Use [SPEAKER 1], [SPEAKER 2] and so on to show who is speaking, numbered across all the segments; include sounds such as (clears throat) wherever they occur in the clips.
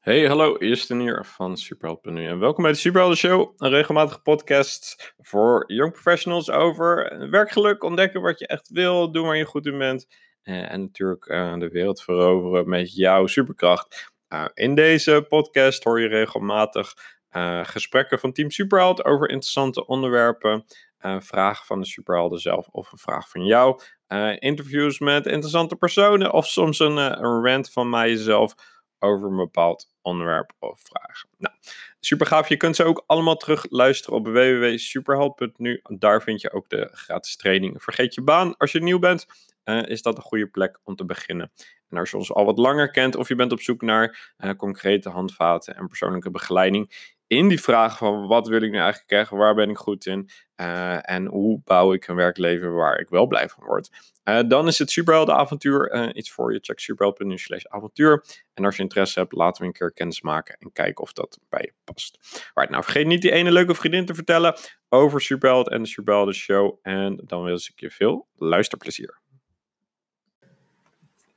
[SPEAKER 1] Hey, hallo, Justin hier van Superheld.nu en welkom bij de Superhelden Show, een regelmatige podcast voor young professionals over werkgeluk, ontdekken wat je echt wil, doen waar je goed in bent eh, en natuurlijk eh, de wereld veroveren met jouw superkracht. Eh, in deze podcast hoor je regelmatig eh, gesprekken van Team Superheld over interessante onderwerpen, eh, vragen van de superhelden zelf of een vraag van jou, eh, interviews met interessante personen of soms een, eh, een rant van mijzelf over een bepaald onderwerp of vraag. Nou, super gaaf. Je kunt ze ook allemaal terug luisteren op www.superheld.nu. Daar vind je ook de gratis training. Vergeet je baan als je nieuw bent. eh, is dat een goede plek om te beginnen? En als je ons al wat langer kent of je bent op zoek naar eh, concrete handvaten en persoonlijke begeleiding in die vraag van wat wil ik nu eigenlijk krijgen, waar ben ik goed in eh, en hoe bouw ik een werkleven waar ik wel blij van word, eh, dan is het Superheldenavontuur avontuur iets voor je. Check superhelden.nu slash avontuur. En als je interesse hebt, laten we een keer kennis maken en kijken of dat bij je past. Right, nou vergeet niet die ene leuke vriendin te vertellen over Superheld en de Superhelden Show. En dan wens ik je veel luisterplezier.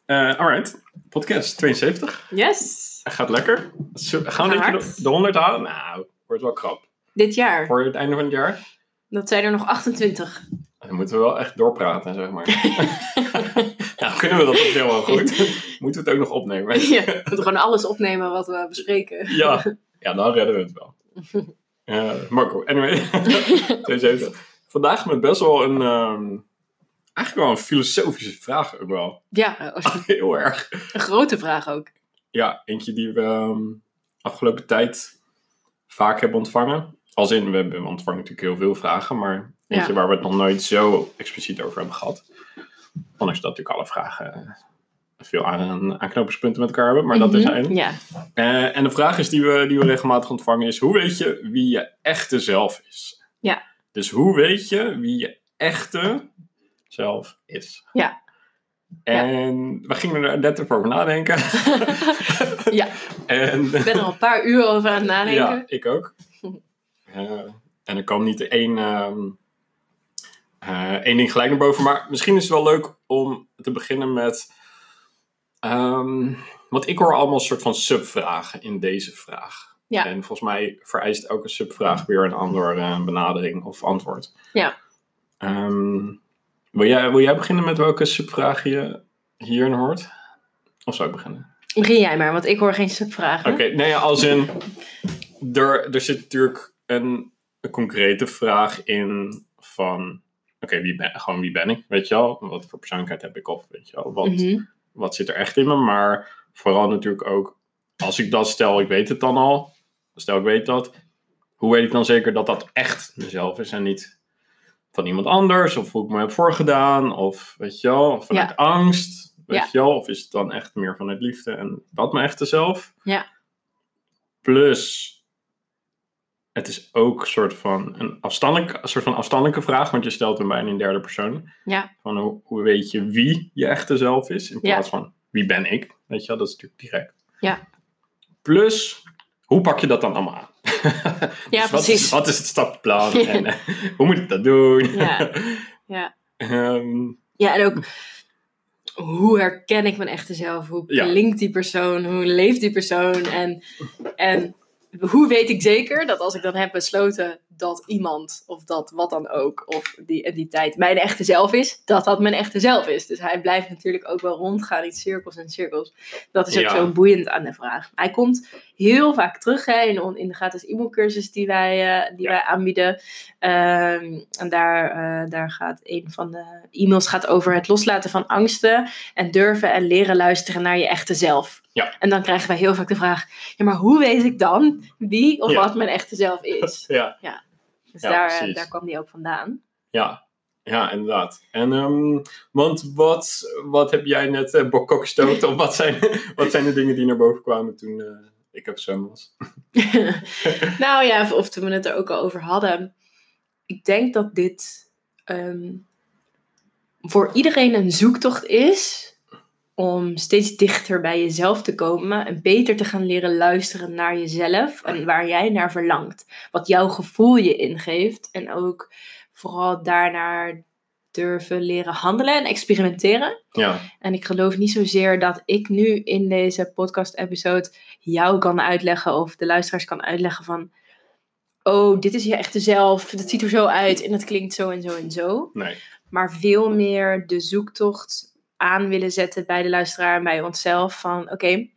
[SPEAKER 1] Eh, alright, podcast 72.
[SPEAKER 2] Yes,
[SPEAKER 1] Gaat lekker. Zo- Gaan we een
[SPEAKER 2] Hard.
[SPEAKER 1] keer de, de 100 houden? Nou, wordt wel krap.
[SPEAKER 2] dit jaar.
[SPEAKER 1] Voor het einde van het jaar.
[SPEAKER 2] Dat zijn er
[SPEAKER 1] (laughs)
[SPEAKER 2] nog 28.
[SPEAKER 1] Dan moeten we wel echt doorpraten, zeg maar. (laughs) nou, kunnen we dat ook heel wel goed. Moeten we het ook nog opnemen.
[SPEAKER 2] ja, we moeten gewoon alles opnemen wat we bespreken.
[SPEAKER 1] (laughs) Ja, ja dan redden we het
[SPEAKER 2] (laughs)
[SPEAKER 1] wel. Eh, Marco, anyway. (laughs) 72. Vandaag met best wel een... ehm, eigenlijk wel een filosofische vraag ook wel. (laughs)
[SPEAKER 2] Ja, oh,
[SPEAKER 1] Heel erg.
[SPEAKER 2] een grote vraag ook.
[SPEAKER 1] Ja, eentje die we ehm, afgelopen tijd vaak hebben ontvangen. Als in, we hebben- we ontvangen natuurlijk heel veel vragen, maar eentje
[SPEAKER 2] Ja.
[SPEAKER 1] waar we het nog nooit zo expliciet over hebben gehad. Ondanks dat natuurlijk alle vragen eh, veel aan, aanknopingspunten met elkaar hebben, maar dat is
[SPEAKER 2] Mhm, Ja,
[SPEAKER 1] eh, en de vraag is die we, die we regelmatig ontvangen is: hoe weet je wie je echte zelf is?
[SPEAKER 2] Ja.
[SPEAKER 1] Dus hoe weet je wie je echte zelf is?
[SPEAKER 2] Ja.
[SPEAKER 1] En we gingen er net even over nadenken.
[SPEAKER 2] (laughs) Ja.
[SPEAKER 1] (laughs) En,
[SPEAKER 2] ik ben er al een paar uur over aan het
[SPEAKER 1] ja,
[SPEAKER 2] nadenken.
[SPEAKER 1] ik
[SPEAKER 2] (laughs)
[SPEAKER 1] ook. Eh, en er kwam niet één, ehm, eh, één ding gelijk naar boven. Maar misschien is het wel leuk om te beginnen met. ehm, want ik hoor allemaal soort van subvragen in deze vraag.
[SPEAKER 2] Ja.
[SPEAKER 1] En volgens mij vereist elke subvraag weer een andere eh, benadering of antwoord.
[SPEAKER 2] Ja.
[SPEAKER 1] Ehm, wil, jij, wil jij beginnen met welke subvraag je hierin hoort? Of zou ik beginnen?
[SPEAKER 2] Begin jij maar, want ik hoor geen subvragen.
[SPEAKER 1] Oké, nee, ja, als in. Er, er zit natuurlijk een, een concrete vraag in van. Oké, wie ben, gewoon wie ben ik? Weet je wel? Wat voor persoonlijkheid heb ik? Of weet je wel? Wat,
[SPEAKER 2] Mhm,
[SPEAKER 1] wat zit er echt in me? Maar vooral natuurlijk ook. Als ik dat stel, ik weet het dan al. Stel, ik weet dat. Hoe weet ik dan zeker dat dat echt mezelf is en niet van iemand anders? Of hoe ik me heb voorgedaan? Of weet je wel? Of vanuit
[SPEAKER 2] Ja.
[SPEAKER 1] angst? Weet
[SPEAKER 2] Ja.
[SPEAKER 1] je wel? Of is het dan echt meer vanuit liefde en dat mijn echte zelf?
[SPEAKER 2] Ja.
[SPEAKER 1] Plus, het is ook soort van een, afstandelijk, een soort van afstandelijke vraag, want je stelt hem bijna in derde persoon.
[SPEAKER 2] Ja.
[SPEAKER 1] Van hoe, hoe weet je wie je echte zelf is, in
[SPEAKER 2] Ja.
[SPEAKER 1] plaats van wie ben ik? Weet je wel, dat is natuurlijk direct.
[SPEAKER 2] Ja.
[SPEAKER 1] Plus, hoe pak je dat dan allemaal aan?
[SPEAKER 2] Ja,
[SPEAKER 1] (laughs) Dus Wat is,
[SPEAKER 2] precies.
[SPEAKER 1] wat is het stappenplan
[SPEAKER 2] (laughs)
[SPEAKER 1] en eh, hoe moet ik dat doen? (laughs)
[SPEAKER 2] Ja. Ja.
[SPEAKER 1] Ehm,
[SPEAKER 2] Ja, en ook hoe herken ik mijn echte zelf? Hoe
[SPEAKER 1] Ja.
[SPEAKER 2] klinkt die persoon? Hoe leeft die persoon? En, en hoe weet ik zeker dat als ik dan heb besloten dat iemand of dat wat dan ook of die entiteit mijn echte zelf is, dat dat mijn echte zelf is? Dus hij blijft natuurlijk ook wel rondgaan in cirkels en cirkels. Dat is ook
[SPEAKER 1] Ja.
[SPEAKER 2] zo boeiend aan de vraag. Hij komt heel vaak terug hè, in, on- in de gratis e-mailcursus die wij, eh, die
[SPEAKER 1] Ja.
[SPEAKER 2] wij aanbieden. Ehm, en daar, eh, daar gaat een van de e-mails gaat over het loslaten van angsten en durven en leren luisteren naar je echte zelf.
[SPEAKER 1] Ja.
[SPEAKER 2] En dan krijgen wij heel vaak de vraag: ja, maar hoe weet ik dan wie of
[SPEAKER 1] Ja.
[SPEAKER 2] wat mijn echte zelf
[SPEAKER 1] (laughs)
[SPEAKER 2] is?
[SPEAKER 1] ja.
[SPEAKER 2] Dus
[SPEAKER 1] Ja,
[SPEAKER 2] daar, eh,
[SPEAKER 1] precies.
[SPEAKER 2] daar kwam die ook
[SPEAKER 1] (laughs)
[SPEAKER 2] vandaan. (laughs)
[SPEAKER 1] Ja, ja inderdaad. En, ehm, want wat, wat heb jij net eh bokkok gestookt? of wat zijn, (laughs) wat zijn de dingen die naar boven kwamen toen eh, ik op zwem was?
[SPEAKER 2] nou ja, of, of toen we het er ook al over hadden. Ik denk dat dit ehm, voor iedereen een zoektocht is om steeds dichter bij jezelf te komen en beter te gaan leren luisteren naar jezelf en waar jij naar verlangt. Wat jouw gevoel je ingeeft en ook vooral daarnaar durven leren handelen en experimenteren.
[SPEAKER 1] Ja.
[SPEAKER 2] En ik geloof niet zozeer dat ik nu in deze podcast-episode jou kan uitleggen of de luisteraars kan uitleggen van. Oh, dit is je echte zelf. Dat ziet er zo uit en dat klinkt zo en zo en zo.
[SPEAKER 1] Nee.
[SPEAKER 2] Maar veel meer de zoektocht aan willen zetten bij de luisteraar en bij onszelf. Van oké,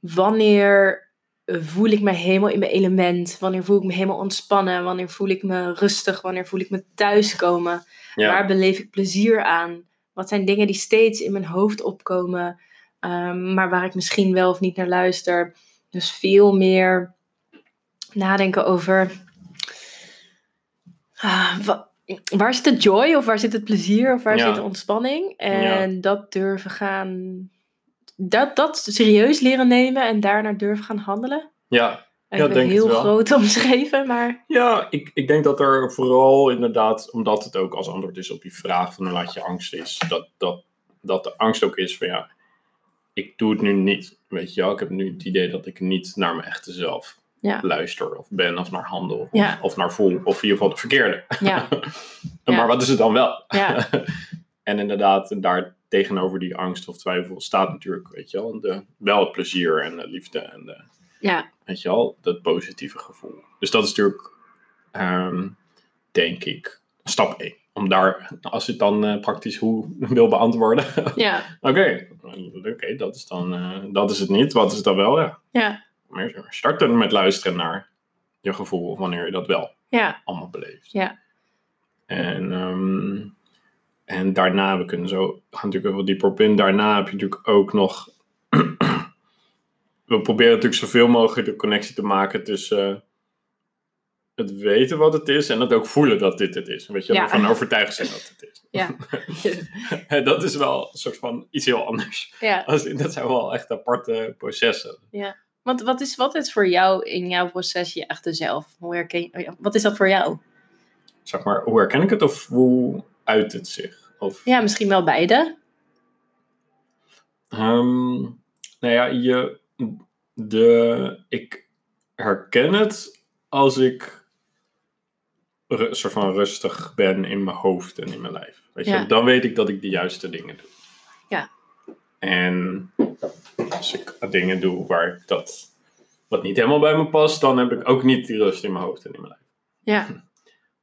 [SPEAKER 2] wanneer voel ik me helemaal in mijn element? Wanneer voel ik me helemaal ontspannen? Wanneer voel ik me rustig? Wanneer voel ik me thuiskomen?
[SPEAKER 1] Ja.
[SPEAKER 2] Waar beleef ik plezier aan? Wat zijn dingen die steeds in mijn hoofd opkomen, ehm, maar waar ik misschien wel of niet naar luister? Dus veel meer nadenken over ah, wa- waar zit de joy of waar zit het plezier of waar
[SPEAKER 1] Ja.
[SPEAKER 2] zit de ontspanning? En dat durven gaan, dat, dat serieus leren nemen en daarnaar durven gaan handelen.
[SPEAKER 1] ja.
[SPEAKER 2] En
[SPEAKER 1] Ja,
[SPEAKER 2] ik ben
[SPEAKER 1] denk het
[SPEAKER 2] heel
[SPEAKER 1] wel.
[SPEAKER 2] groot (laughs) omschreven, maar
[SPEAKER 1] Ja, ik, ik denk dat er vooral inderdaad, omdat het ook als antwoord is op je vraag van laat je angst is, dat, dat, dat de angst ook is van ja, ik doe het nu niet. Weet je wel, ik heb nu het idee dat ik niet naar mijn echte zelf
[SPEAKER 2] Ja.
[SPEAKER 1] luister of ben of naar handel of,
[SPEAKER 2] Ja.
[SPEAKER 1] of naar voel of in ieder geval de verkeerde. (laughs)
[SPEAKER 2] ja, Ja.
[SPEAKER 1] Maar wat is het dan wel?
[SPEAKER 2] ja,
[SPEAKER 1] (laughs) en inderdaad, daar tegenover die angst of twijfel staat natuurlijk, weet je wel, de, wel het plezier en de liefde en de,
[SPEAKER 2] ja,
[SPEAKER 1] Weet je wel, dat positieve gevoel. Dus dat is natuurlijk, ehm, denk ik, stap 1. Om daar, als je het dan eh, praktisch hoe (laughs) wil beantwoorden. Oké,
[SPEAKER 2] ja,
[SPEAKER 1] oké, dat is dan, eh, dat is het niet. Wat is het dan wel? Ja.
[SPEAKER 2] ja,
[SPEAKER 1] Maar start dan met luisteren naar je gevoel, of wanneer je dat wel
[SPEAKER 2] ja,
[SPEAKER 1] allemaal beleefd.
[SPEAKER 2] Ja.
[SPEAKER 1] En, ehm, en daarna, we kunnen zo, we gaan natuurlijk wel dieper op in. Daarna heb je natuurlijk ook nog. (clears throat) we proberen natuurlijk zoveel mogelijk de connectie te maken tussen. eh, het weten wat het is en het ook voelen dat dit het is. Weet je,
[SPEAKER 2] Ja.
[SPEAKER 1] ervan overtuigd zijn dat het is.
[SPEAKER 2] (laughs)
[SPEAKER 1] (laughs)
[SPEAKER 2] ja,
[SPEAKER 1] En dat is wel een soort van iets heel anders. (laughs)
[SPEAKER 2] ja.
[SPEAKER 1] Als in, Dat zijn wel echt aparte processen.
[SPEAKER 2] Want wat is, wat is voor jou in jouw proces je echte zelf? Hoe herken je, wat is dat voor jou?
[SPEAKER 1] Zeg maar, hoe herken ik het of hoe uit het zich? Of,
[SPEAKER 2] Ja, misschien wel beide.
[SPEAKER 1] Ehm, nou ja, je, de, ik herken het als ik een soort van rustig ben in mijn hoofd en in mijn lijf. Weet je,
[SPEAKER 2] Ja.
[SPEAKER 1] dan weet ik dat ik de juiste dingen doe.
[SPEAKER 2] Ja.
[SPEAKER 1] En als ik dingen doe waar ik dat wat niet helemaal bij me past, dan heb ik ook niet die rust in mijn hoofd en in mijn lijf.
[SPEAKER 2] Ja,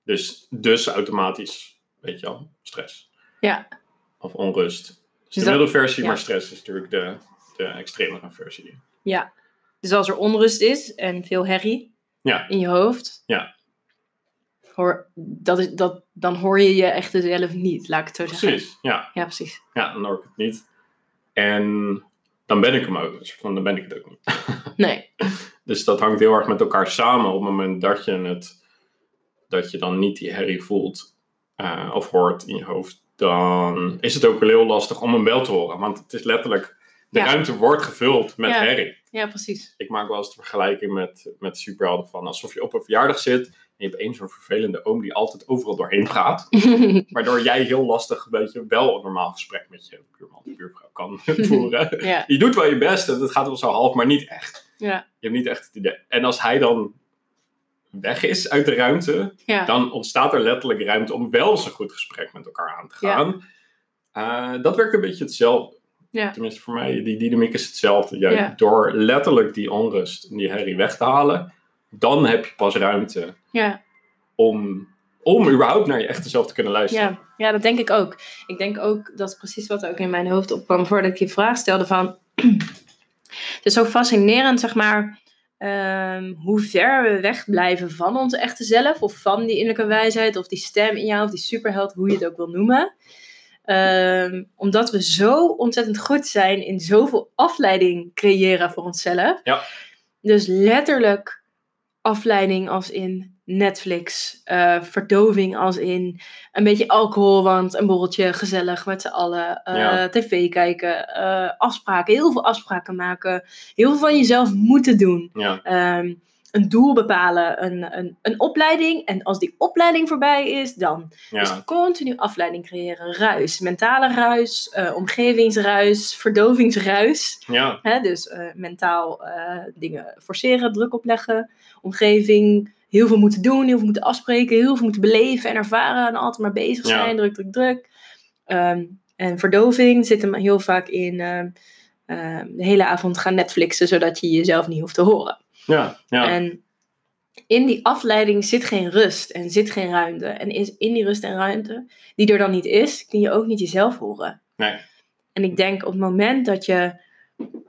[SPEAKER 1] Dus, dus automatisch, weet je wel, stress.
[SPEAKER 2] ja,
[SPEAKER 1] Of onrust. Dus, de
[SPEAKER 2] dat-
[SPEAKER 1] middelversie,
[SPEAKER 2] ja.
[SPEAKER 1] maar stress is natuurlijk de, de extremere versie.
[SPEAKER 2] ja. Dus als er onrust is en veel herrie
[SPEAKER 1] Ja.
[SPEAKER 2] in je hoofd,
[SPEAKER 1] Ja.
[SPEAKER 2] hoor, dat is, dat, dan hoor je je echte zelf niet, laat ik het zo zeggen.
[SPEAKER 1] Precies, ja.
[SPEAKER 2] Ja, precies.
[SPEAKER 1] Ja, dan hoor ik het niet. En dan ben ik hem ook, een soort van, dan ben ik het ook niet.
[SPEAKER 2] Nee,
[SPEAKER 1] Dus dat hangt heel erg met elkaar samen op het moment dat je het, dat je dan niet die herrie voelt eh, of hoort in je hoofd, dan is het ook wel heel lastig om hem wel te horen. Want het is letterlijk, de
[SPEAKER 2] Ja.
[SPEAKER 1] ruimte wordt gevuld met
[SPEAKER 2] Ja.
[SPEAKER 1] herrie.
[SPEAKER 2] ja, precies.
[SPEAKER 1] ik maak wel eens de vergelijking met, met superhelden van alsof je op een verjaardag zit en je hebt één zo'n vervelende oom die altijd overal doorheen praat. Waardoor jij heel lastig weet je, wel een normaal gesprek met je buurman of buurvrouw
[SPEAKER 2] (laughs)
[SPEAKER 1] kan voeren.
[SPEAKER 2] (laughs) ja,
[SPEAKER 1] Je doet wel je best en het gaat wel zo half, maar niet echt.
[SPEAKER 2] ja,
[SPEAKER 1] Je hebt niet echt het idee. En als hij dan weg is uit de ruimte,
[SPEAKER 2] ja.
[SPEAKER 1] dan ontstaat er letterlijk ruimte om wel eens een goed gesprek met elkaar aan te
[SPEAKER 2] Ja.
[SPEAKER 1] gaan. Eh, dat werkt een beetje hetzelfde.
[SPEAKER 2] Ja.
[SPEAKER 1] Tenminste, voor mij, die dynamiek is hetzelfde. Juist
[SPEAKER 2] Ja.
[SPEAKER 1] Door letterlijk die onrust en die herrie weg te halen, dan heb je pas ruimte
[SPEAKER 2] ja.
[SPEAKER 1] om, om überhaupt naar je echte zelf te kunnen luisteren.
[SPEAKER 2] Ja, ja, dat denk ik ook. Ik denk ook, dat is precies wat ook in mijn hoofd opkwam voordat ik je vraag stelde van... (clears throat) het is zo fascinerend, zeg maar, ehm, hoe ver we wegblijven van ons echte zelf. Of van die innerlijke wijsheid, of die stem in jou, of die superheld, hoe je het ook wil noemen. Ehm, omdat we zo ontzettend goed zijn in zoveel afleiding creëren voor onszelf.
[SPEAKER 1] Ja.
[SPEAKER 2] Dus letterlijk afleiding als in Netflix, eh, verdoving als in een beetje alcohol, want een borreltje, gezellig met z'n allen, eh,
[SPEAKER 1] Ja.
[SPEAKER 2] tv kijken, eh, afspraken, heel veel afspraken maken, heel veel van jezelf moeten doen,
[SPEAKER 1] Ja.
[SPEAKER 2] ehm, een doel bepalen, een, een, een opleiding en als die opleiding voorbij is, dan
[SPEAKER 1] Ja.
[SPEAKER 2] dus continu afleiding creëren, ruis, mentale ruis, eh, omgevingsruis, verdovingsruis.
[SPEAKER 1] ja,
[SPEAKER 2] Hè, dus eh, mentaal eh, dingen forceren, druk opleggen, omgeving heel veel moeten doen, heel veel moeten afspreken, heel veel moeten beleven en ervaren en altijd maar bezig
[SPEAKER 1] Ja.
[SPEAKER 2] zijn, druk, druk, druk. Ehm, en verdoving zit hem heel vaak in ehm, ehm, de hele avond gaan Netflixen, zodat je jezelf niet hoeft te horen.
[SPEAKER 1] Ja, ja.
[SPEAKER 2] En in die afleiding zit geen rust en zit geen ruimte. En is in die rust en ruimte, die er dan niet is, kun je ook niet jezelf horen.
[SPEAKER 1] Nee.
[SPEAKER 2] En ik denk op het moment dat je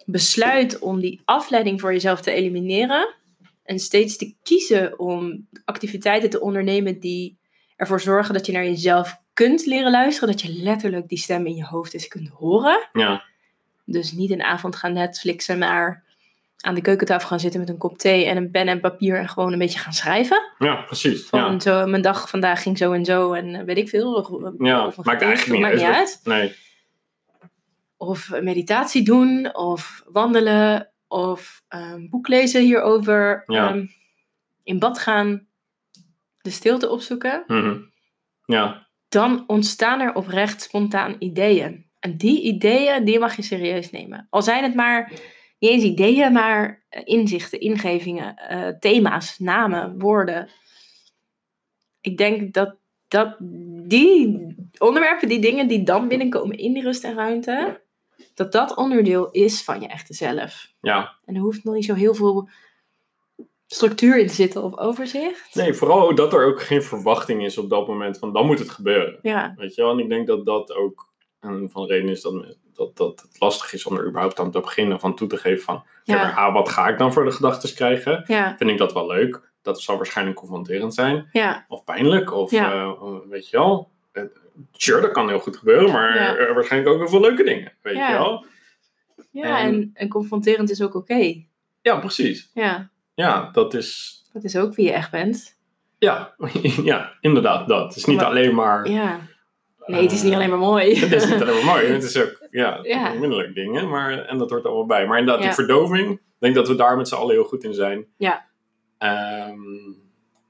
[SPEAKER 2] besluit om die afleiding voor jezelf te elimineren en steeds te kiezen om activiteiten te ondernemen die ervoor zorgen dat je naar jezelf kunt leren luisteren, dat je letterlijk die stem in je hoofd eens kunt horen.
[SPEAKER 1] ja.
[SPEAKER 2] Dus niet een avond gaan Netflixen, maar aan de keukentafel gaan zitten met een kop thee en een pen en papier en gewoon een beetje gaan schrijven.
[SPEAKER 1] ja, precies.
[SPEAKER 2] Van
[SPEAKER 1] Ja.
[SPEAKER 2] zo, mijn dag vandaag ging zo en zo en eh, weet ik veel. Of, of een
[SPEAKER 1] Ja, maakt
[SPEAKER 2] gedicht,
[SPEAKER 1] eigenlijk niet
[SPEAKER 2] maakt
[SPEAKER 1] uit.
[SPEAKER 2] niet uit.
[SPEAKER 1] Nee,
[SPEAKER 2] Of een meditatie doen, of wandelen, of een boek lezen hierover.
[SPEAKER 1] Ja.
[SPEAKER 2] ehm, in bad gaan, de stilte opzoeken.
[SPEAKER 1] mhm. ja,
[SPEAKER 2] Dan ontstaan er oprecht spontaan ideeën. En die ideeën, die mag je serieus nemen. Al zijn het maar, niet eens ideeën, maar eh, inzichten, ingevingen, eh, thema's, namen, woorden. Ik denk dat, dat die onderwerpen, die dingen die dan binnenkomen in die rust en ruimte, dat dat onderdeel is van je echte zelf.
[SPEAKER 1] ja.
[SPEAKER 2] En er hoeft nog niet zo heel veel structuur in te zitten of overzicht.
[SPEAKER 1] Nee, vooral ook dat er ook geen verwachting is op dat moment van dan moet het gebeuren.
[SPEAKER 2] Ja,
[SPEAKER 1] Weet je wel? En ik denk dat dat ook een van de redenen is dat, me- dat, dat het lastig is om er überhaupt aan te beginnen van toe te geven van... Ja.
[SPEAKER 2] ja,
[SPEAKER 1] ah, wat ga ik dan voor de gedachten krijgen?
[SPEAKER 2] ja,
[SPEAKER 1] Vind ik dat wel leuk? Dat zal waarschijnlijk confronterend zijn.
[SPEAKER 2] ja,
[SPEAKER 1] Of pijnlijk. Of
[SPEAKER 2] Ja.
[SPEAKER 1] eh, weet je wel. Eh, Sure, dat kan heel goed gebeuren. Maar
[SPEAKER 2] Ja.
[SPEAKER 1] er- er waarschijnlijk ook heel veel leuke dingen. Weet
[SPEAKER 2] Ja.
[SPEAKER 1] je wel?
[SPEAKER 2] ja. En, en confronterend is ook oké.
[SPEAKER 1] Ja, precies.
[SPEAKER 2] Ja,
[SPEAKER 1] Ja, dat is...
[SPEAKER 2] dat is ook wie je echt bent.
[SPEAKER 1] Ja, (laughs) ja inderdaad dat. Het is niet
[SPEAKER 2] Maar-
[SPEAKER 1] alleen maar...
[SPEAKER 2] Ja. Nee, het is niet
[SPEAKER 1] eh,
[SPEAKER 2] alleen maar
[SPEAKER 1] (laughs)
[SPEAKER 2] mooi.
[SPEAKER 1] Het is niet alleen
[SPEAKER 2] (laughs)
[SPEAKER 1] maar mooi. Het is ook ja,
[SPEAKER 2] Ja.
[SPEAKER 1] onmiddellijk dingen. Maar, en dat hoort allemaal bij. Maar inderdaad,
[SPEAKER 2] Ja.
[SPEAKER 1] die verdoving. Ik denk dat we daar met z'n allen heel goed in zijn.
[SPEAKER 2] Ja.
[SPEAKER 1] Ehm,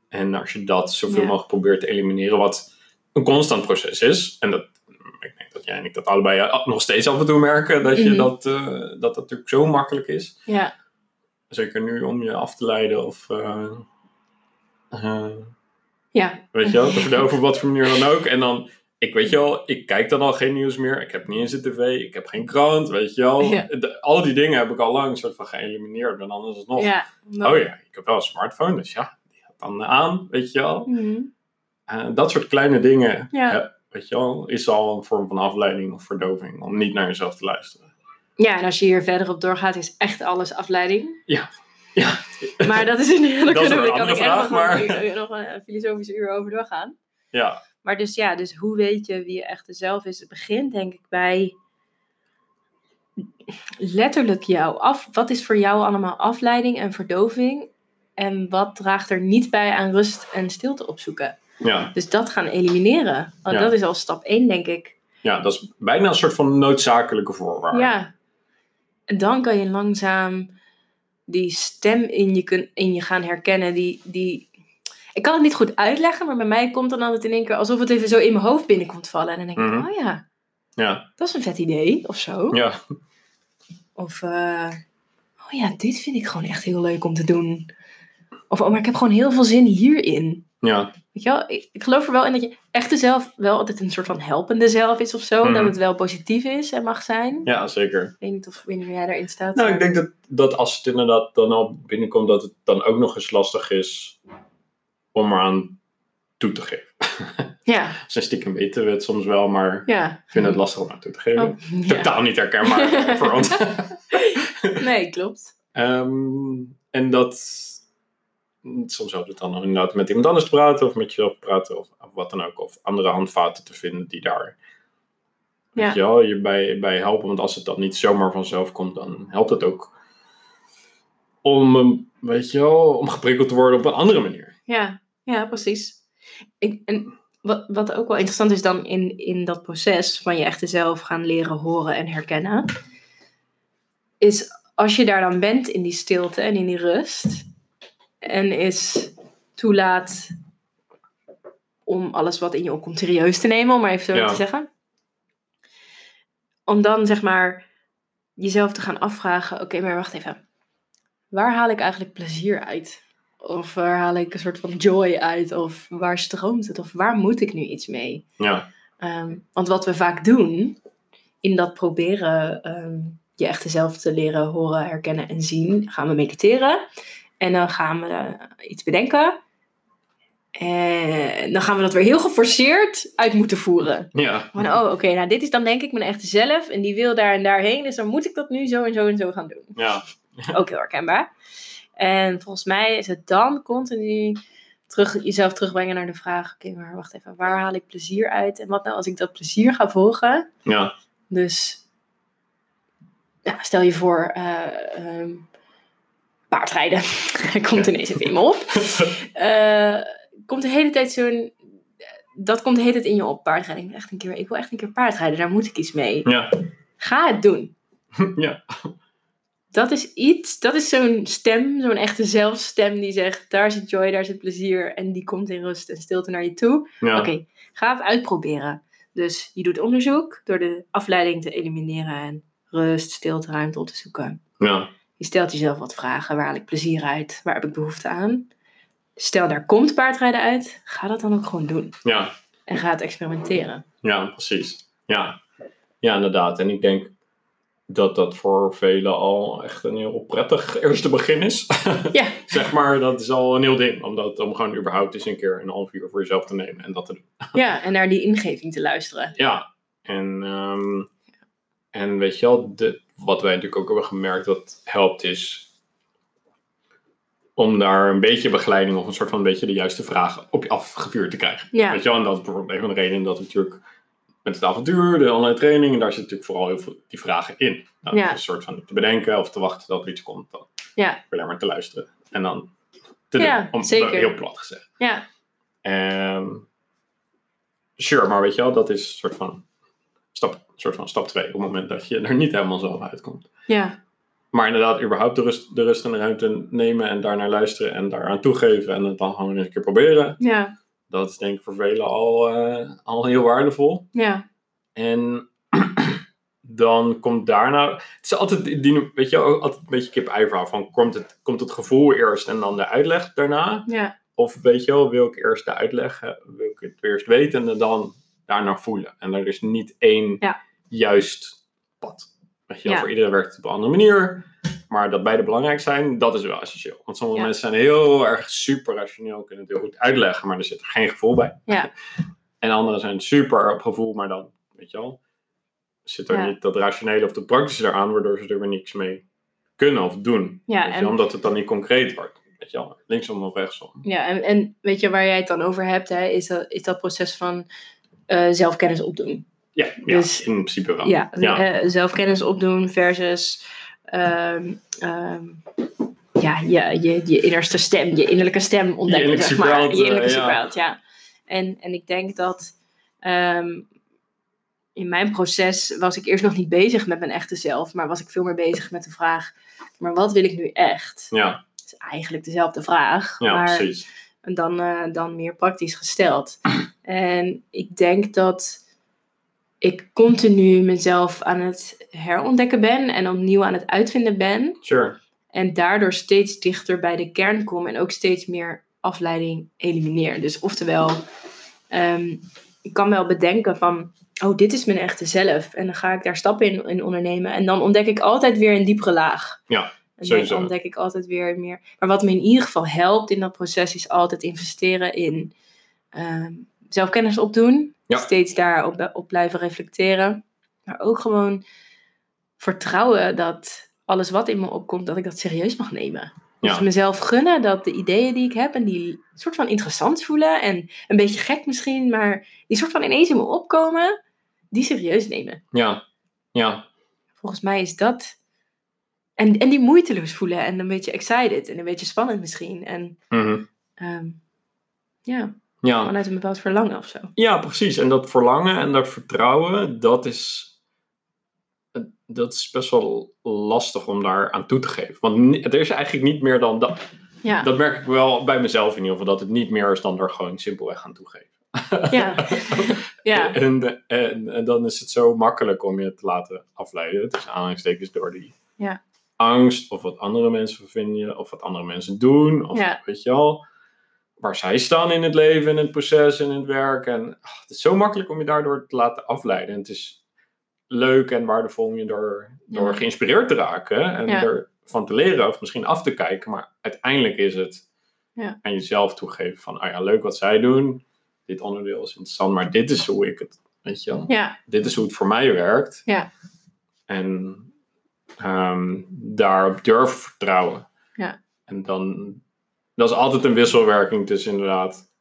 [SPEAKER 1] en als je dat zoveel
[SPEAKER 2] Ja.
[SPEAKER 1] mogelijk probeert te elimineren. Wat een constant proces is. En dat, ik denk dat jij en ik dat allebei a- nog steeds af en toe merken. Dat, je
[SPEAKER 2] Mhm.
[SPEAKER 1] dat, eh, dat dat natuurlijk zo makkelijk is.
[SPEAKER 2] Ja,
[SPEAKER 1] Zeker nu om je af te leiden. Of eh, eh,
[SPEAKER 2] ja,
[SPEAKER 1] Weet je wel, te verdoven op wat voor manier dan ook. En dan, ik weet je wel, ik kijk dan al geen nieuws meer. Ik heb niet eens de tv, ik heb geen krant, weet je wel.
[SPEAKER 2] Ja.
[SPEAKER 1] De- al die dingen heb ik al lang soort van geëlimineerd. En anders is het nog,
[SPEAKER 2] ja.
[SPEAKER 1] oh ja, ik heb wel een smartphone, dus ja, die gaat dan aan, weet je wel.
[SPEAKER 2] Mhm.
[SPEAKER 1] Eh, dat soort kleine dingen,
[SPEAKER 2] Ja.
[SPEAKER 1] eh, weet je wel, is al een vorm van afleiding of verdoving. Om niet naar jezelf te luisteren.
[SPEAKER 2] Ja, en als je hier verder op doorgaat, is echt alles afleiding.
[SPEAKER 1] Ja. Ja.
[SPEAKER 2] Maar dat is een (laughs) hele
[SPEAKER 1] Dat is nog een
[SPEAKER 2] kan
[SPEAKER 1] andere
[SPEAKER 2] ik echt
[SPEAKER 1] vraag,
[SPEAKER 2] nog
[SPEAKER 1] maar-
[SPEAKER 2] een uur- nog een filosofische uur over doorgaan.
[SPEAKER 1] Ja,
[SPEAKER 2] Maar dus ja, dus hoe weet je wie je echte zelf is? Het begint denk ik bij letterlijk jou af. Wat is voor jou allemaal afleiding en verdoving? En wat draagt er niet bij aan rust en stilte opzoeken?
[SPEAKER 1] ja,
[SPEAKER 2] Dus dat gaan elimineren. Want
[SPEAKER 1] Ja.
[SPEAKER 2] Dat is al stap 1, denk ik.
[SPEAKER 1] ja, dat is bijna een soort van noodzakelijke voorwaarde.
[SPEAKER 2] Ja. En dan kan je langzaam die stem in je, kun, in je gaan herkennen. Die, die... Ik kan het niet goed uitleggen, maar bij mij komt dan altijd in één keer alsof het even zo in mijn hoofd binnenkomt vallen. En dan denk ik,
[SPEAKER 1] Mhm.
[SPEAKER 2] oh ja.
[SPEAKER 1] Ja,
[SPEAKER 2] dat is een vet idee of zo.
[SPEAKER 1] ja,
[SPEAKER 2] Of, eh, oh ja, dit vind ik gewoon echt heel leuk om te doen. Of, oh, maar ik heb gewoon heel veel zin hierin.
[SPEAKER 1] ja,
[SPEAKER 2] Weet je wel, ik, ik geloof er wel in dat je echte zelf wel altijd een soort van helpende zelf is of zo.
[SPEAKER 1] Mhm.
[SPEAKER 2] Dat het wel positief is en mag zijn.
[SPEAKER 1] ja zeker.
[SPEAKER 2] Ik weet niet of wanneer jij daarin staat.
[SPEAKER 1] Nou, ik denk dat, dat als het inderdaad dan al binnenkomt, dat het dan ook nog eens lastig is om eraan toe te geven.
[SPEAKER 2] Ja,
[SPEAKER 1] Zijn stiekem weten we het soms wel, maar
[SPEAKER 2] ja.
[SPEAKER 1] ik vind het lastig om aan toe te geven.
[SPEAKER 2] Oh, ja.
[SPEAKER 1] Totaal niet herkenbaar voor (laughs) ons.
[SPEAKER 2] Nee, klopt.
[SPEAKER 1] Ehm, en dat soms helpt het dan om inderdaad met iemand anders te praten of met jezelf te praten of wat dan ook. Of andere handvaten te vinden die daar
[SPEAKER 2] Ja.
[SPEAKER 1] weet je, wel, je bij, bij helpen. Want als het dan niet zomaar vanzelf komt, dan helpt het ook om, een- weet je wel, om geprikkeld te worden op een andere manier.
[SPEAKER 2] Ja, ja precies. Ik, en wat, wat ook wel interessant is dan in, in dat proces van je echte zelf gaan leren horen en herkennen, is als je daar dan bent in die stilte en in die rust, en is toelaat om alles wat in je opkomt serieus te nemen, om maar even zo
[SPEAKER 1] Ja.
[SPEAKER 2] te zeggen. Om dan zeg maar jezelf te gaan afvragen, oké, maar wacht even. Waar haal ik eigenlijk plezier uit? Of waar haal ik een soort van joy uit? Of waar stroomt het? Of waar moet ik nu iets mee?
[SPEAKER 1] Ja.
[SPEAKER 2] Ehm, want wat we vaak doen, in dat proberen ehm, je echte zelf te leren horen, herkennen en zien, gaan we mediteren. En dan gaan we eh, iets bedenken. En dan gaan we dat weer heel geforceerd uit moeten voeren.
[SPEAKER 1] Ja.
[SPEAKER 2] Van, oh, oké, nou dit is dan denk ik mijn echte zelf en die wil daar en daarheen. Dus dan moet ik dat nu zo en zo en zo gaan doen.
[SPEAKER 1] Ja.
[SPEAKER 2] (laughs) Ook heel herkenbaar. En volgens mij is het dan continu terug, jezelf terugbrengen naar de vraag: oké, maar wacht even, waar haal ik plezier uit? En wat nou als ik dat plezier ga volgen?
[SPEAKER 1] Ja.
[SPEAKER 2] Dus ja, stel je voor, eh, ehm, paardrijden. (laughs) Hij komt ineens even in me op. Eh, komt de hele tijd zo'n. Dat komt de hele tijd in je op, paardrijden. Ik wil echt een keer, ik wil echt een keer paardrijden, daar moet ik iets mee.
[SPEAKER 1] Ja.
[SPEAKER 2] Ga het doen
[SPEAKER 1] (laughs) Ja.
[SPEAKER 2] dat is iets, dat is zo'n stem, zo'n echte zelfstem die zegt: daar zit joy, daar zit plezier. En die komt in rust en stilte naar je toe.
[SPEAKER 1] Ja.
[SPEAKER 2] Oké, ga het uitproberen. Dus je doet onderzoek door de afleiding te elimineren en rust, stilte, ruimte op te zoeken.
[SPEAKER 1] Ja.
[SPEAKER 2] Je stelt jezelf wat vragen: waar haal ik plezier uit? Waar heb ik behoefte aan? Stel, daar komt paardrijden uit. Ga dat dan ook gewoon doen.
[SPEAKER 1] Ja.
[SPEAKER 2] En ga het experimenteren.
[SPEAKER 1] Ja, precies. Ja. ja, inderdaad. En ik denk dat dat voor velen al echt een heel prettig eerste begin is. (laughs)
[SPEAKER 2] Ja,
[SPEAKER 1] zeg maar, dat is al een heel ding. Om, dat, om gewoon überhaupt eens een keer een half uur voor jezelf te nemen en dat te doen.
[SPEAKER 2] ja en naar die ingeving te luisteren.
[SPEAKER 1] Ja, en, ehm, en weet je wel, de, wat wij natuurlijk ook hebben gemerkt dat helpt is om daar een beetje begeleiding of een soort van een beetje de juiste vragen op je afgevuurd te krijgen.
[SPEAKER 2] Ja,
[SPEAKER 1] Weet je wel, en dat is bijvoorbeeld een van de redenen dat we natuurlijk met het avontuur, de online training, en daar zit natuurlijk vooral heel veel die vragen in. Nou,
[SPEAKER 2] Ja.
[SPEAKER 1] Een soort van te bedenken of te wachten dat er iets komt, dan
[SPEAKER 2] ja,
[SPEAKER 1] alleen maar te luisteren en dan te
[SPEAKER 2] Ja,
[SPEAKER 1] doen, om
[SPEAKER 2] zeker.
[SPEAKER 1] heel plat gezegd.
[SPEAKER 2] ja,
[SPEAKER 1] Ehm sure, maar weet je wel, dat is een soort van stap, soort van stap 2 op het moment dat je er niet helemaal zelf uitkomt.
[SPEAKER 2] ja,
[SPEAKER 1] Maar inderdaad, überhaupt de rust, de rust en de ruimte nemen en daarnaar luisteren en daaraan toegeven en het dan gewoon eens een keer proberen.
[SPEAKER 2] ja,
[SPEAKER 1] Dat is denk ik voor velen al, eh, al heel waardevol.
[SPEAKER 2] ja,
[SPEAKER 1] En (clears throat) dan komt daarna. Het is altijd, die- die, weet je, wel, altijd een beetje kip-ei verhaal. Van komt het, komt het gevoel eerst en dan de uitleg daarna?
[SPEAKER 2] ja,
[SPEAKER 1] Of weet je wel, wil ik eerst de uitleg, eh, wil ik het eerst weten en dan daarna voelen? En er is niet één
[SPEAKER 2] Ja.
[SPEAKER 1] juist pad. Weet je wel,
[SPEAKER 2] Ja.
[SPEAKER 1] voor iedereen werkt het op een andere manier. Maar dat beide belangrijk zijn, dat is wel essentieel. Want sommige
[SPEAKER 2] Ja.
[SPEAKER 1] mensen zijn heel erg super rationeel, kunnen het heel goed uitleggen, maar er zit er geen gevoel bij.
[SPEAKER 2] ja.
[SPEAKER 1] (laughs) En anderen zijn super op gevoel, maar dan, weet je wel, zit er
[SPEAKER 2] Ja.
[SPEAKER 1] niet dat rationele of de praktische eraan, waardoor ze er weer niks mee kunnen of doen.
[SPEAKER 2] Ja,
[SPEAKER 1] weet je,
[SPEAKER 2] en-
[SPEAKER 1] wel, Omdat het dan niet concreet wordt. Weet je wel, linksom of rechtsom.
[SPEAKER 2] Ja, en, en weet je waar jij het dan over hebt, hè, is, dat, is dat proces van eh, zelfkennis opdoen.
[SPEAKER 1] Ja, ja
[SPEAKER 2] Dus-
[SPEAKER 1] in principe wel.
[SPEAKER 2] Ja,
[SPEAKER 1] ja.
[SPEAKER 2] eh, zelfkennis opdoen versus ehm, ehm, ja, je, je, je innerste stem, je innerlijke stem ontdekken,
[SPEAKER 1] innerlijke
[SPEAKER 2] zeg maar.
[SPEAKER 1] superheld,
[SPEAKER 2] Je innerlijke
[SPEAKER 1] eh, ja.
[SPEAKER 2] superheld, ja. En, en ik denk dat ehm, in mijn proces was ik eerst nog niet bezig met mijn echte zelf, maar was ik veel meer bezig met de vraag, maar wat wil ik nu echt?
[SPEAKER 1] ja,
[SPEAKER 2] Dat is eigenlijk dezelfde vraag,
[SPEAKER 1] ja,
[SPEAKER 2] maar
[SPEAKER 1] precies.
[SPEAKER 2] en dan, eh, dan meer praktisch
[SPEAKER 1] (clears throat)
[SPEAKER 2] gesteld. En ik denk dat ik continu mezelf aan het herontdekken ben en opnieuw aan het uitvinden ben.
[SPEAKER 1] Sure.
[SPEAKER 2] En daardoor steeds dichter bij de kern kom en ook steeds meer afleiding elimineer. Dus oftewel, ehm, ik kan wel bedenken van, oh, dit is mijn echte zelf. En dan ga ik daar stappen in, in ondernemen. En dan ontdek ik altijd weer een diepere laag.
[SPEAKER 1] Ja,
[SPEAKER 2] En
[SPEAKER 1] sowieso.
[SPEAKER 2] dan ontdek ik altijd weer meer. Maar wat me in ieder geval helpt in dat proces is altijd investeren in ehm, zelfkennis opdoen.
[SPEAKER 1] Ja.
[SPEAKER 2] Steeds daarop op blijven reflecteren. Maar ook gewoon vertrouwen dat alles wat in me opkomt, dat ik dat serieus mag nemen. Dus
[SPEAKER 1] Ja.
[SPEAKER 2] mezelf gunnen dat de ideeën die ik heb en die soort van interessant voelen en een beetje gek misschien, maar die soort van ineens in me opkomen, die serieus nemen.
[SPEAKER 1] Ja, ja,
[SPEAKER 2] Volgens mij is dat. En, en die moeiteloos voelen en een beetje excited en een beetje spannend misschien. En
[SPEAKER 1] mhm,
[SPEAKER 2] ehm, ja,
[SPEAKER 1] ja.
[SPEAKER 2] vanuit een bepaald verlangen of zo.
[SPEAKER 1] Ja, precies. En dat verlangen en dat vertrouwen, dat is, eh, dat is best wel lastig om daar aan toe te geven. Want ni- er is eigenlijk niet meer dan dat.
[SPEAKER 2] Ja,
[SPEAKER 1] Dat merk ik wel bij mezelf in ieder geval, dat het niet meer is dan er gewoon simpelweg aan toegeven. (laughs)
[SPEAKER 2] ja, ja,
[SPEAKER 1] En, en, en dan is het zo makkelijk om je te laten afleiden, tussen aanhalingstekens, door die
[SPEAKER 2] Ja.
[SPEAKER 1] angst of wat andere mensen vinden of wat andere mensen doen. Of
[SPEAKER 2] Ja.
[SPEAKER 1] weet je al, waar zij staan in het leven, in het proces, in het werk. En ah, het is zo makkelijk om je daardoor te laten afleiden. En het is leuk en waardevol om je door, door
[SPEAKER 2] Ja.
[SPEAKER 1] geïnspireerd te raken en
[SPEAKER 2] Ja.
[SPEAKER 1] ervan te leren of misschien af te kijken. Maar uiteindelijk is het
[SPEAKER 2] Ja.
[SPEAKER 1] aan jezelf toegeven van, ah ja, leuk wat zij doen. Dit onderdeel is interessant, maar dit is hoe ik het, weet je wel
[SPEAKER 2] Ja,
[SPEAKER 1] dit is hoe het voor mij werkt.
[SPEAKER 2] Ja.
[SPEAKER 1] En ehm, daarop durf vertrouwen.
[SPEAKER 2] Ja.
[SPEAKER 1] En dan, dat is altijd een wisselwerking tussen inderdaad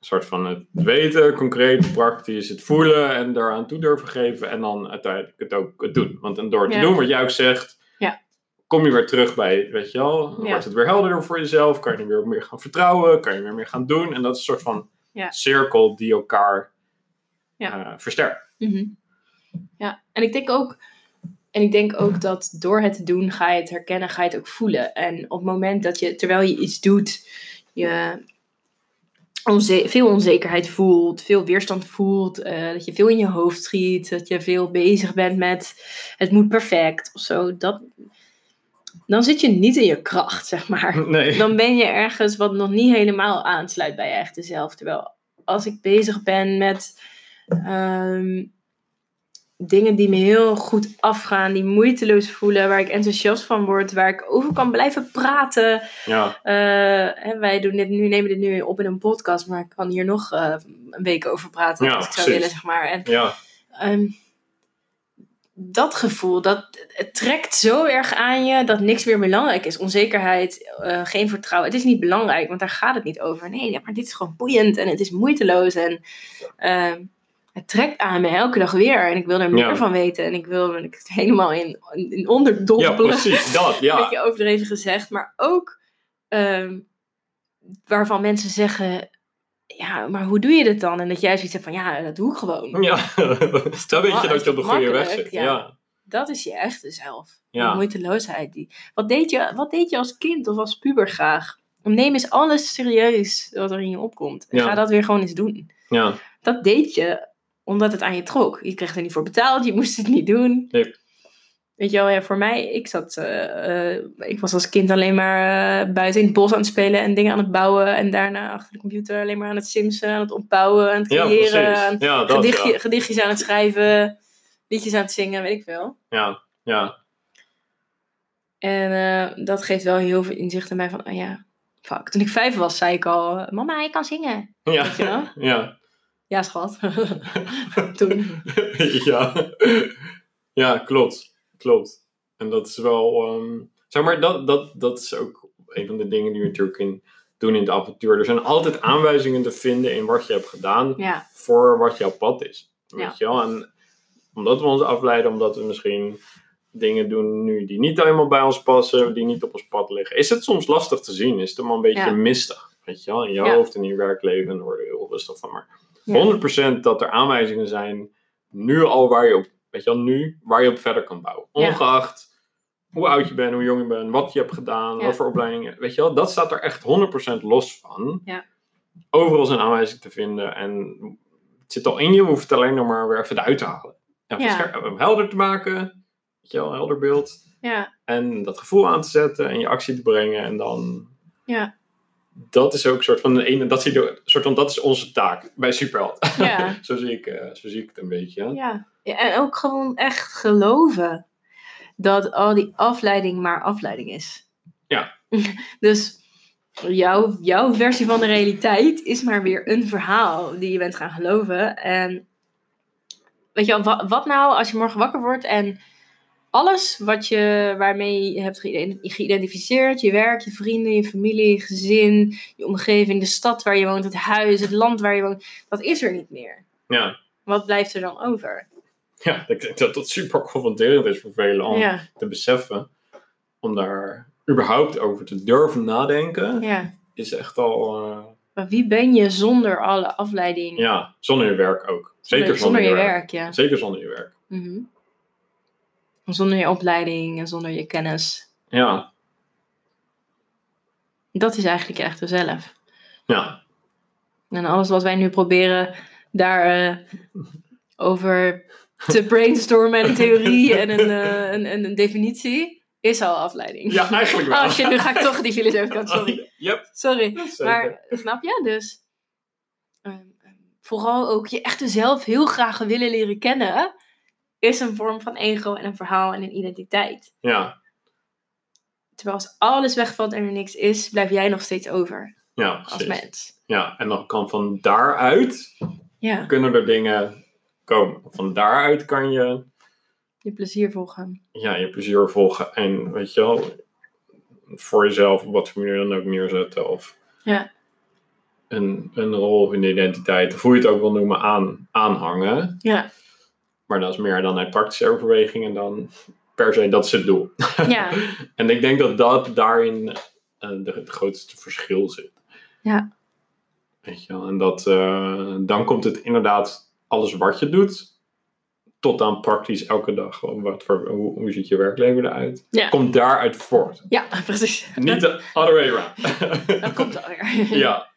[SPEAKER 1] een soort van het weten, concreet, praktisch, het voelen en daaraan toe durven geven en dan uiteindelijk het ook het doen. Want en door het te
[SPEAKER 2] Ja.
[SPEAKER 1] doen wat jij ook zegt,
[SPEAKER 2] Ja.
[SPEAKER 1] kom je weer terug bij, weet je wel, dan
[SPEAKER 2] Ja.
[SPEAKER 1] wordt het weer helderder voor jezelf, kan je er weer op meer gaan vertrouwen, kan je weer meer gaan doen. En dat is een soort van
[SPEAKER 2] Ja.
[SPEAKER 1] cirkel die elkaar
[SPEAKER 2] Ja.
[SPEAKER 1] eh, versterkt.
[SPEAKER 2] mhm. ja. En ik denk ook. En ik denk ook dat door het te doen ga je het herkennen, ga je het ook voelen. En op het moment dat je, terwijl je iets doet, je onze- veel onzekerheid voelt, veel weerstand voelt, eh, dat je veel in je hoofd schiet, dat je veel bezig bent met het moet perfect of zo, dat, dan zit je niet in je kracht, zeg (laughs) maar.
[SPEAKER 1] Nee.
[SPEAKER 2] dan ben je ergens wat nog niet helemaal aansluit bij je echte zelf. Terwijl als ik bezig ben met ehm, dingen die me heel goed afgaan, die moeiteloos voelen, waar ik enthousiast van word, waar ik over kan blijven praten.
[SPEAKER 1] Ja,
[SPEAKER 2] Eh, hè, wij doen dit nu, nemen dit nu op in een podcast, maar ik kan hier nog eh, een week over praten
[SPEAKER 1] Ja,
[SPEAKER 2] als ik zou
[SPEAKER 1] precies.
[SPEAKER 2] willen, zeg maar. En
[SPEAKER 1] ja,
[SPEAKER 2] Ehm, dat gevoel, dat, het trekt zo erg aan je dat niks meer belangrijk is. Onzekerheid, eh, geen vertrouwen. Het is niet belangrijk, want daar gaat het niet over. Nee, ja, maar dit is gewoon boeiend en het is moeiteloos. En ehm, het trekt aan me elke dag weer. En ik wil er meer
[SPEAKER 1] Ja.
[SPEAKER 2] van weten. En ik wil ik het helemaal in, in onderdompelen.
[SPEAKER 1] ja precies. Dat,
[SPEAKER 2] Een
[SPEAKER 1] ja.
[SPEAKER 2] beetje overdreven gezegd. Maar ook ehm, waarvan mensen zeggen... Ja, maar hoe doe je dit dan? En dat jij zoiets hebt van, (laughs) ja, dat doe ik gewoon.
[SPEAKER 1] ja. (laughs) Dan weet je dat je op de goede weg
[SPEAKER 2] makkelijk,
[SPEAKER 1] zit.
[SPEAKER 2] ja.
[SPEAKER 1] Ja.
[SPEAKER 2] Dat is je echte zelf.
[SPEAKER 1] Ja.
[SPEAKER 2] De moeiteloosheid. Die... Wat, deed je, wat deed je als kind of als puber graag? Neem eens alles serieus wat er in je opkomt. En
[SPEAKER 1] Ja.
[SPEAKER 2] ga dat weer gewoon eens doen.
[SPEAKER 1] ja,
[SPEAKER 2] Dat deed je omdat het aan je trok. Je kreeg er niet voor betaald, je moest het niet doen.
[SPEAKER 1] Nee.
[SPEAKER 2] Weet je wel, ja, voor mij, ik zat, eh, eh, ik was als kind alleen maar eh, buiten in het bos aan het spelen en dingen aan het bouwen. En daarna achter de computer alleen maar aan het simsen, aan het opbouwen, aan het
[SPEAKER 1] ja,
[SPEAKER 2] creëren, aan
[SPEAKER 1] precies. Ja, dat,
[SPEAKER 2] gedichtje-
[SPEAKER 1] ja.
[SPEAKER 2] gedichtjes aan het schrijven, liedjes aan het zingen, weet ik veel.
[SPEAKER 1] Ja, ja,
[SPEAKER 2] En eh, dat geeft wel heel veel inzicht in mij van, oh ja, fuck. Toen ik vijf was, zei ik al, eh, mama, ik kan zingen.
[SPEAKER 1] ja.
[SPEAKER 2] Weet je wel?
[SPEAKER 1] (laughs) Ja.
[SPEAKER 2] Ja, schat. (laughs) Toen.
[SPEAKER 1] ja. (laughs) ja, klopt. Klopt. En dat is wel... ehm, zeg maar, dat, dat, dat is ook een van de dingen die we natuurlijk in, doen in het avontuur. Er zijn altijd aanwijzingen te vinden in wat je hebt gedaan.
[SPEAKER 2] Ja,
[SPEAKER 1] voor wat jouw pad is. Weet
[SPEAKER 2] Ja.
[SPEAKER 1] je wel? En omdat we ons afleiden, omdat we misschien dingen doen nu die niet helemaal bij ons passen, die niet op ons pad liggen, is het soms lastig te zien. Is het allemaal een beetje
[SPEAKER 2] Ja.
[SPEAKER 1] mistig. Weet je wel? In je
[SPEAKER 2] Ja.
[SPEAKER 1] hoofd en in je werkleven en daar word je heel rustig van. Maar
[SPEAKER 2] Ja.
[SPEAKER 1] 100% dat er aanwijzingen zijn, nu al waar je op, weet je wel, nu, waar je op verder kan bouwen.
[SPEAKER 2] Ja.
[SPEAKER 1] Ongeacht hoe oud je bent, hoe jong je bent, wat je hebt gedaan,
[SPEAKER 2] Ja.
[SPEAKER 1] wat voor opleidingen. Weet je wel, dat staat er echt 100% los van.
[SPEAKER 2] Ja.
[SPEAKER 1] Overal zijn aanwijzingen te vinden en het zit al in je, we hoeven het alleen nog maar weer even eruit te halen. Even
[SPEAKER 2] Ja.
[SPEAKER 1] scherp- hem helder te maken, weet je wel, een helder beeld.
[SPEAKER 2] ja,
[SPEAKER 1] En dat gevoel aan te zetten en je actie te brengen en dan...
[SPEAKER 2] Ja.
[SPEAKER 1] Dat is ook een soort van de ene, dat, zie je door- soort van, dat is onze taak bij Superheld.
[SPEAKER 2] Ja.
[SPEAKER 1] (laughs) zo, zie ik, eh, zo zie ik het een beetje. hè.
[SPEAKER 2] ja. Ja, En ook gewoon echt geloven dat al die afleiding maar afleiding is.
[SPEAKER 1] Ja.
[SPEAKER 2] (laughs) dus jouw, jouw versie van de realiteit is maar weer een verhaal die je bent gaan geloven. En weet je wel, wa- wat nou als je morgen wakker wordt en alles wat je, waarmee je hebt geïdent- geïdentificeerd, je werk, je vrienden, je familie, je gezin, je omgeving, de stad waar je woont, het huis, het land waar je woont, dat is er niet meer.
[SPEAKER 1] Ja.
[SPEAKER 2] Wat blijft er dan over?
[SPEAKER 1] Ja, ik denk dat dat super confronterend is voor velen om
[SPEAKER 2] Ja,
[SPEAKER 1] te beseffen. Om daar überhaupt over te durven nadenken,
[SPEAKER 2] ja.
[SPEAKER 1] is echt al... eh,
[SPEAKER 2] Maar wie ben je zonder alle afleiding?
[SPEAKER 1] ja, zonder je werk ook. Zeker zonder,
[SPEAKER 2] zonder je werk, ja.
[SPEAKER 1] Zeker zonder je werk.
[SPEAKER 2] Mhm. Zonder je opleiding en zonder je kennis.
[SPEAKER 1] Ja,
[SPEAKER 2] Dat is eigenlijk je echte zelf. (laughs)
[SPEAKER 1] ja,
[SPEAKER 2] En alles wat wij nu proberen daar eh,
[SPEAKER 1] (laughs)
[SPEAKER 2] over te brainstormen en een theorie en een, eh, een, een, een definitie, is al afleiding.
[SPEAKER 1] Ja, eigenlijk wel. Oh,
[SPEAKER 2] Oh shit, nu ga ik
[SPEAKER 1] (laughs)
[SPEAKER 2] toch die filosoof kant, sorry.
[SPEAKER 1] Yep,
[SPEAKER 2] Sorry.
[SPEAKER 1] zeker.
[SPEAKER 2] Maar snap je? Dus ehm, vooral ook je echte zelf heel graag willen leren kennen, is een vorm van ego en een verhaal en een identiteit.
[SPEAKER 1] Ja,
[SPEAKER 2] Terwijl als alles wegvalt en er niks is, blijf jij nog steeds over
[SPEAKER 1] ja,
[SPEAKER 2] als
[SPEAKER 1] precies.
[SPEAKER 2] mens.
[SPEAKER 1] Ja, en dan kan van daaruit
[SPEAKER 2] Ja,
[SPEAKER 1] kunnen er dingen komen. Van daaruit kan je
[SPEAKER 2] je plezier volgen.
[SPEAKER 1] ja, je plezier volgen en weet je wel, voor jezelf op wat voor manier dan ook neerzetten of
[SPEAKER 2] Ja.
[SPEAKER 1] een, een rol of een identiteit, of hoe je het ook wil noemen, aan, aanhangen.
[SPEAKER 2] Ja,
[SPEAKER 1] Maar dat is meer dan uit praktische overwegingen dan per se dat is het doel.
[SPEAKER 2] (laughs) ja,
[SPEAKER 1] (laughs) En ik denk dat dat daarin eh, de, het grootste verschil zit.
[SPEAKER 2] Ja.
[SPEAKER 1] Weet je wel, en dat, eh, dan komt het inderdaad alles wat je doet, tot aan praktisch elke dag. Gewoon Wat voor, hoe, hoe ziet je werkleven eruit?
[SPEAKER 2] Ja.
[SPEAKER 1] Komt daaruit voort.
[SPEAKER 2] ja (laughs) precies.
[SPEAKER 1] Niet de other way around.
[SPEAKER 2] (laughs) Dat komt alweer.
[SPEAKER 1] (laughs) Ja.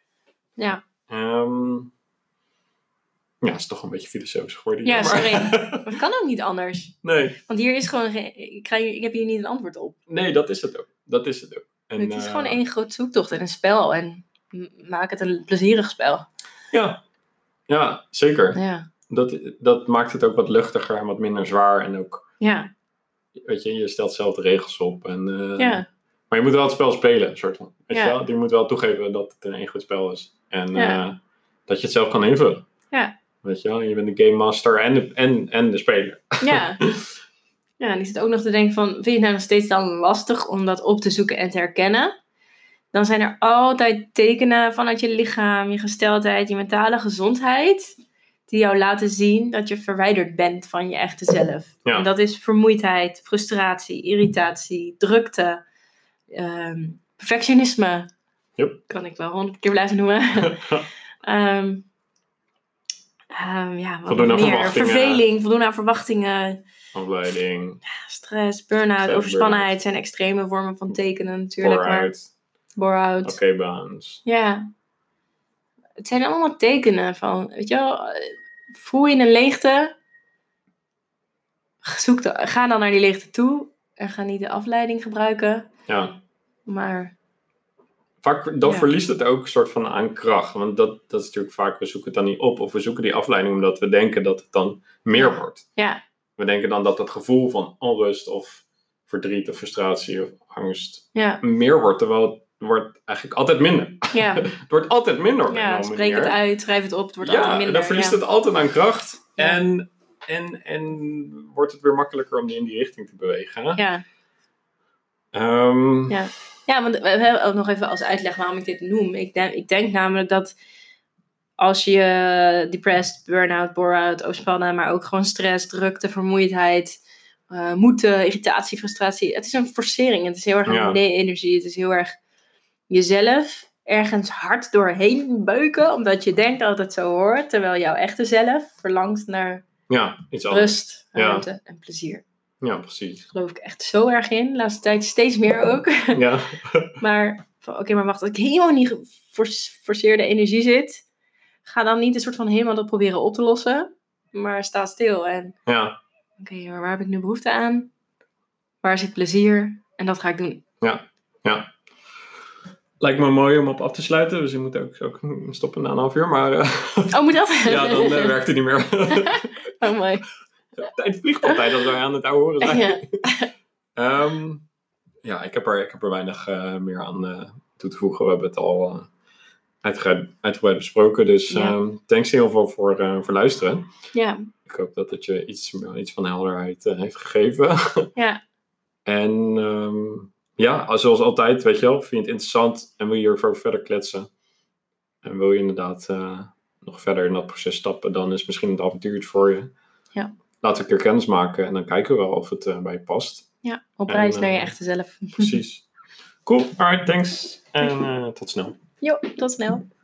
[SPEAKER 2] Ja.
[SPEAKER 1] Ehm, ja, is toch een beetje filosofisch geworden. hier,
[SPEAKER 2] Ja,
[SPEAKER 1] maar-
[SPEAKER 2] Dat kan ook niet
[SPEAKER 1] (laughs)
[SPEAKER 2] anders.
[SPEAKER 1] nee,
[SPEAKER 2] Want hier is gewoon, geen- ik, krijg, ik heb hier niet een antwoord op.
[SPEAKER 1] nee, dat is het ook. Dat is het ook. En,
[SPEAKER 2] het is gewoon
[SPEAKER 1] eh,
[SPEAKER 2] één groot zoektocht en een spel. En m- maak het een plezierig spel.
[SPEAKER 1] Ja. ja, zeker.
[SPEAKER 2] Ja.
[SPEAKER 1] dat, dat maakt het ook wat luchtiger en wat minder zwaar. En ook,
[SPEAKER 2] Ja.
[SPEAKER 1] weet je, je stelt zelf de regels op. En, eh,
[SPEAKER 2] Ja.
[SPEAKER 1] Maar je moet wel het spel spelen, soort van. Weet
[SPEAKER 2] Ja.
[SPEAKER 1] je, wel? je moet wel toegeven dat het een één goed spel is. En
[SPEAKER 2] Ja.
[SPEAKER 1] eh, dat je het zelf kan invullen.
[SPEAKER 2] Ja.
[SPEAKER 1] Weet je wel, je bent de game master en de, en, en de
[SPEAKER 2] (laughs)
[SPEAKER 1] speler.
[SPEAKER 2] Ja. Ja, en ik zit ook nog te denken van, vind je het nou nog steeds dan lastig om dat op te zoeken en te herkennen? Dan zijn er altijd tekenen vanuit je lichaam, je gesteldheid, je mentale gezondheid, die jou laten zien dat je verwijderd bent van je echte zelf.
[SPEAKER 1] Ja.
[SPEAKER 2] En dat is vermoeidheid, frustratie, irritatie, drukte, ehm, perfectionisme.
[SPEAKER 1] Yep.
[SPEAKER 2] Kan ik wel honderd keer blijven noemen.
[SPEAKER 1] (laughs)
[SPEAKER 2] Ehm, ehm, ja, wat
[SPEAKER 1] Voldoen
[SPEAKER 2] nog
[SPEAKER 1] aan
[SPEAKER 2] meer?
[SPEAKER 1] verwachtingen.
[SPEAKER 2] Verveling, voldoen aan verwachtingen,
[SPEAKER 1] Afleiding,
[SPEAKER 2] Stress,
[SPEAKER 1] Stress,
[SPEAKER 2] burn-out,
[SPEAKER 1] burn-out.
[SPEAKER 2] overspannenheid zijn extreme vormen van tekenen natuurlijk. maar
[SPEAKER 1] vooruit,
[SPEAKER 2] Bore-out.
[SPEAKER 1] oké baans.
[SPEAKER 2] Ja. Het zijn allemaal tekenen van, weet je wel, eh, voel je een leegte? Zoek de- ga dan naar die leegte toe en ga niet de afleiding gebruiken.
[SPEAKER 1] Ja, (laughs)
[SPEAKER 2] Maar
[SPEAKER 1] vaak dan
[SPEAKER 2] Ja.
[SPEAKER 1] verliest het ook soort van aan kracht. Want dat, dat is natuurlijk vaak, we zoeken het dan niet op. Of we zoeken die afleiding omdat we denken dat het dan meer wordt.
[SPEAKER 2] ja,
[SPEAKER 1] We denken dan dat het gevoel van onrust of verdriet of frustratie of angst
[SPEAKER 2] ja,
[SPEAKER 1] meer wordt, terwijl het wordt eigenlijk altijd minder.
[SPEAKER 2] ja,
[SPEAKER 1] Het wordt altijd minder op een
[SPEAKER 2] ja.
[SPEAKER 1] of andere
[SPEAKER 2] Spreek het
[SPEAKER 1] manier.
[SPEAKER 2] uit, schrijf het op, het wordt
[SPEAKER 1] ja,
[SPEAKER 2] altijd minder.
[SPEAKER 1] dan verliest
[SPEAKER 2] ja.
[SPEAKER 1] het altijd aan kracht
[SPEAKER 2] Ja.
[SPEAKER 1] en, en, en wordt het weer makkelijker om die in die richting te bewegen.
[SPEAKER 2] Ja.
[SPEAKER 1] Ehm,
[SPEAKER 2] Ja. Ja, want we hebben ook nog even als uitleg waarom ik dit noem. Ik denk, ik denk namelijk dat als je depressed, burn-out, bore-out, overspannen, maar ook gewoon stress, drukte, vermoeidheid, eh moeite, irritatie, frustratie. Het is een forcering. Het is heel erg een
[SPEAKER 1] Ja.
[SPEAKER 2] nee-energie. Het is heel erg jezelf ergens hard doorheen beuken, omdat je denkt dat het zo hoort, terwijl jouw echte zelf verlangt naar
[SPEAKER 1] ja, iets anders.
[SPEAKER 2] rust,
[SPEAKER 1] Ja.
[SPEAKER 2] ruimte en plezier.
[SPEAKER 1] Ja, precies.
[SPEAKER 2] Daar geloof ik echt zo erg in. De laatste tijd steeds meer ook.
[SPEAKER 1] Ja,
[SPEAKER 2] Maar van, oké, maar wacht, als ik helemaal niet geforceerde energie zit, ga dan niet een soort van helemaal dat proberen op te lossen, maar sta stil en
[SPEAKER 1] ja,
[SPEAKER 2] oké, maar waar heb ik nu behoefte aan? Waar zit plezier? En dat ga ik doen.
[SPEAKER 1] ja. Lijkt me mooi om op af te sluiten, dus je moet ook, ook stoppen na een half uur, maar eh, (laughs)
[SPEAKER 2] Oh, moet dat?
[SPEAKER 1] ja, dan eh, werkt (laughs) het niet meer.
[SPEAKER 2] (laughs) Oh, mooi.
[SPEAKER 1] Tijd vliegt altijd als wij aan het oude horen zijn. Ja,
[SPEAKER 2] (laughs) Ja.
[SPEAKER 1] ja ik, heb er, ik heb er weinig eh, meer aan eh, toe te voegen. We hebben het al eh, uitgebreid, uitgebreid besproken. Dus
[SPEAKER 2] Ja.
[SPEAKER 1] ehm, thanks heel veel voor, eh, voor luisteren.
[SPEAKER 2] ja,
[SPEAKER 1] Ik hoop dat het je iets, iets van helderheid eh, heeft gegeven. (laughs)
[SPEAKER 2] Ja.
[SPEAKER 1] En ehm, ja, als- zoals altijd, weet je wel, vind je het interessant en wil je hierover verder kletsen. En wil je inderdaad eh, nog verder in dat proces stappen, dan is misschien het avontuur iets voor je.
[SPEAKER 2] Ja.
[SPEAKER 1] Laat een keer kennis maken en dan kijken we wel of het eh, bij je past.
[SPEAKER 2] ja. op
[SPEAKER 1] En,
[SPEAKER 2] reis
[SPEAKER 1] eh,
[SPEAKER 2] naar je echte zelf.
[SPEAKER 1] Precies. cool, alright, thanks. En eh, tot snel.
[SPEAKER 2] Jo, tot snel.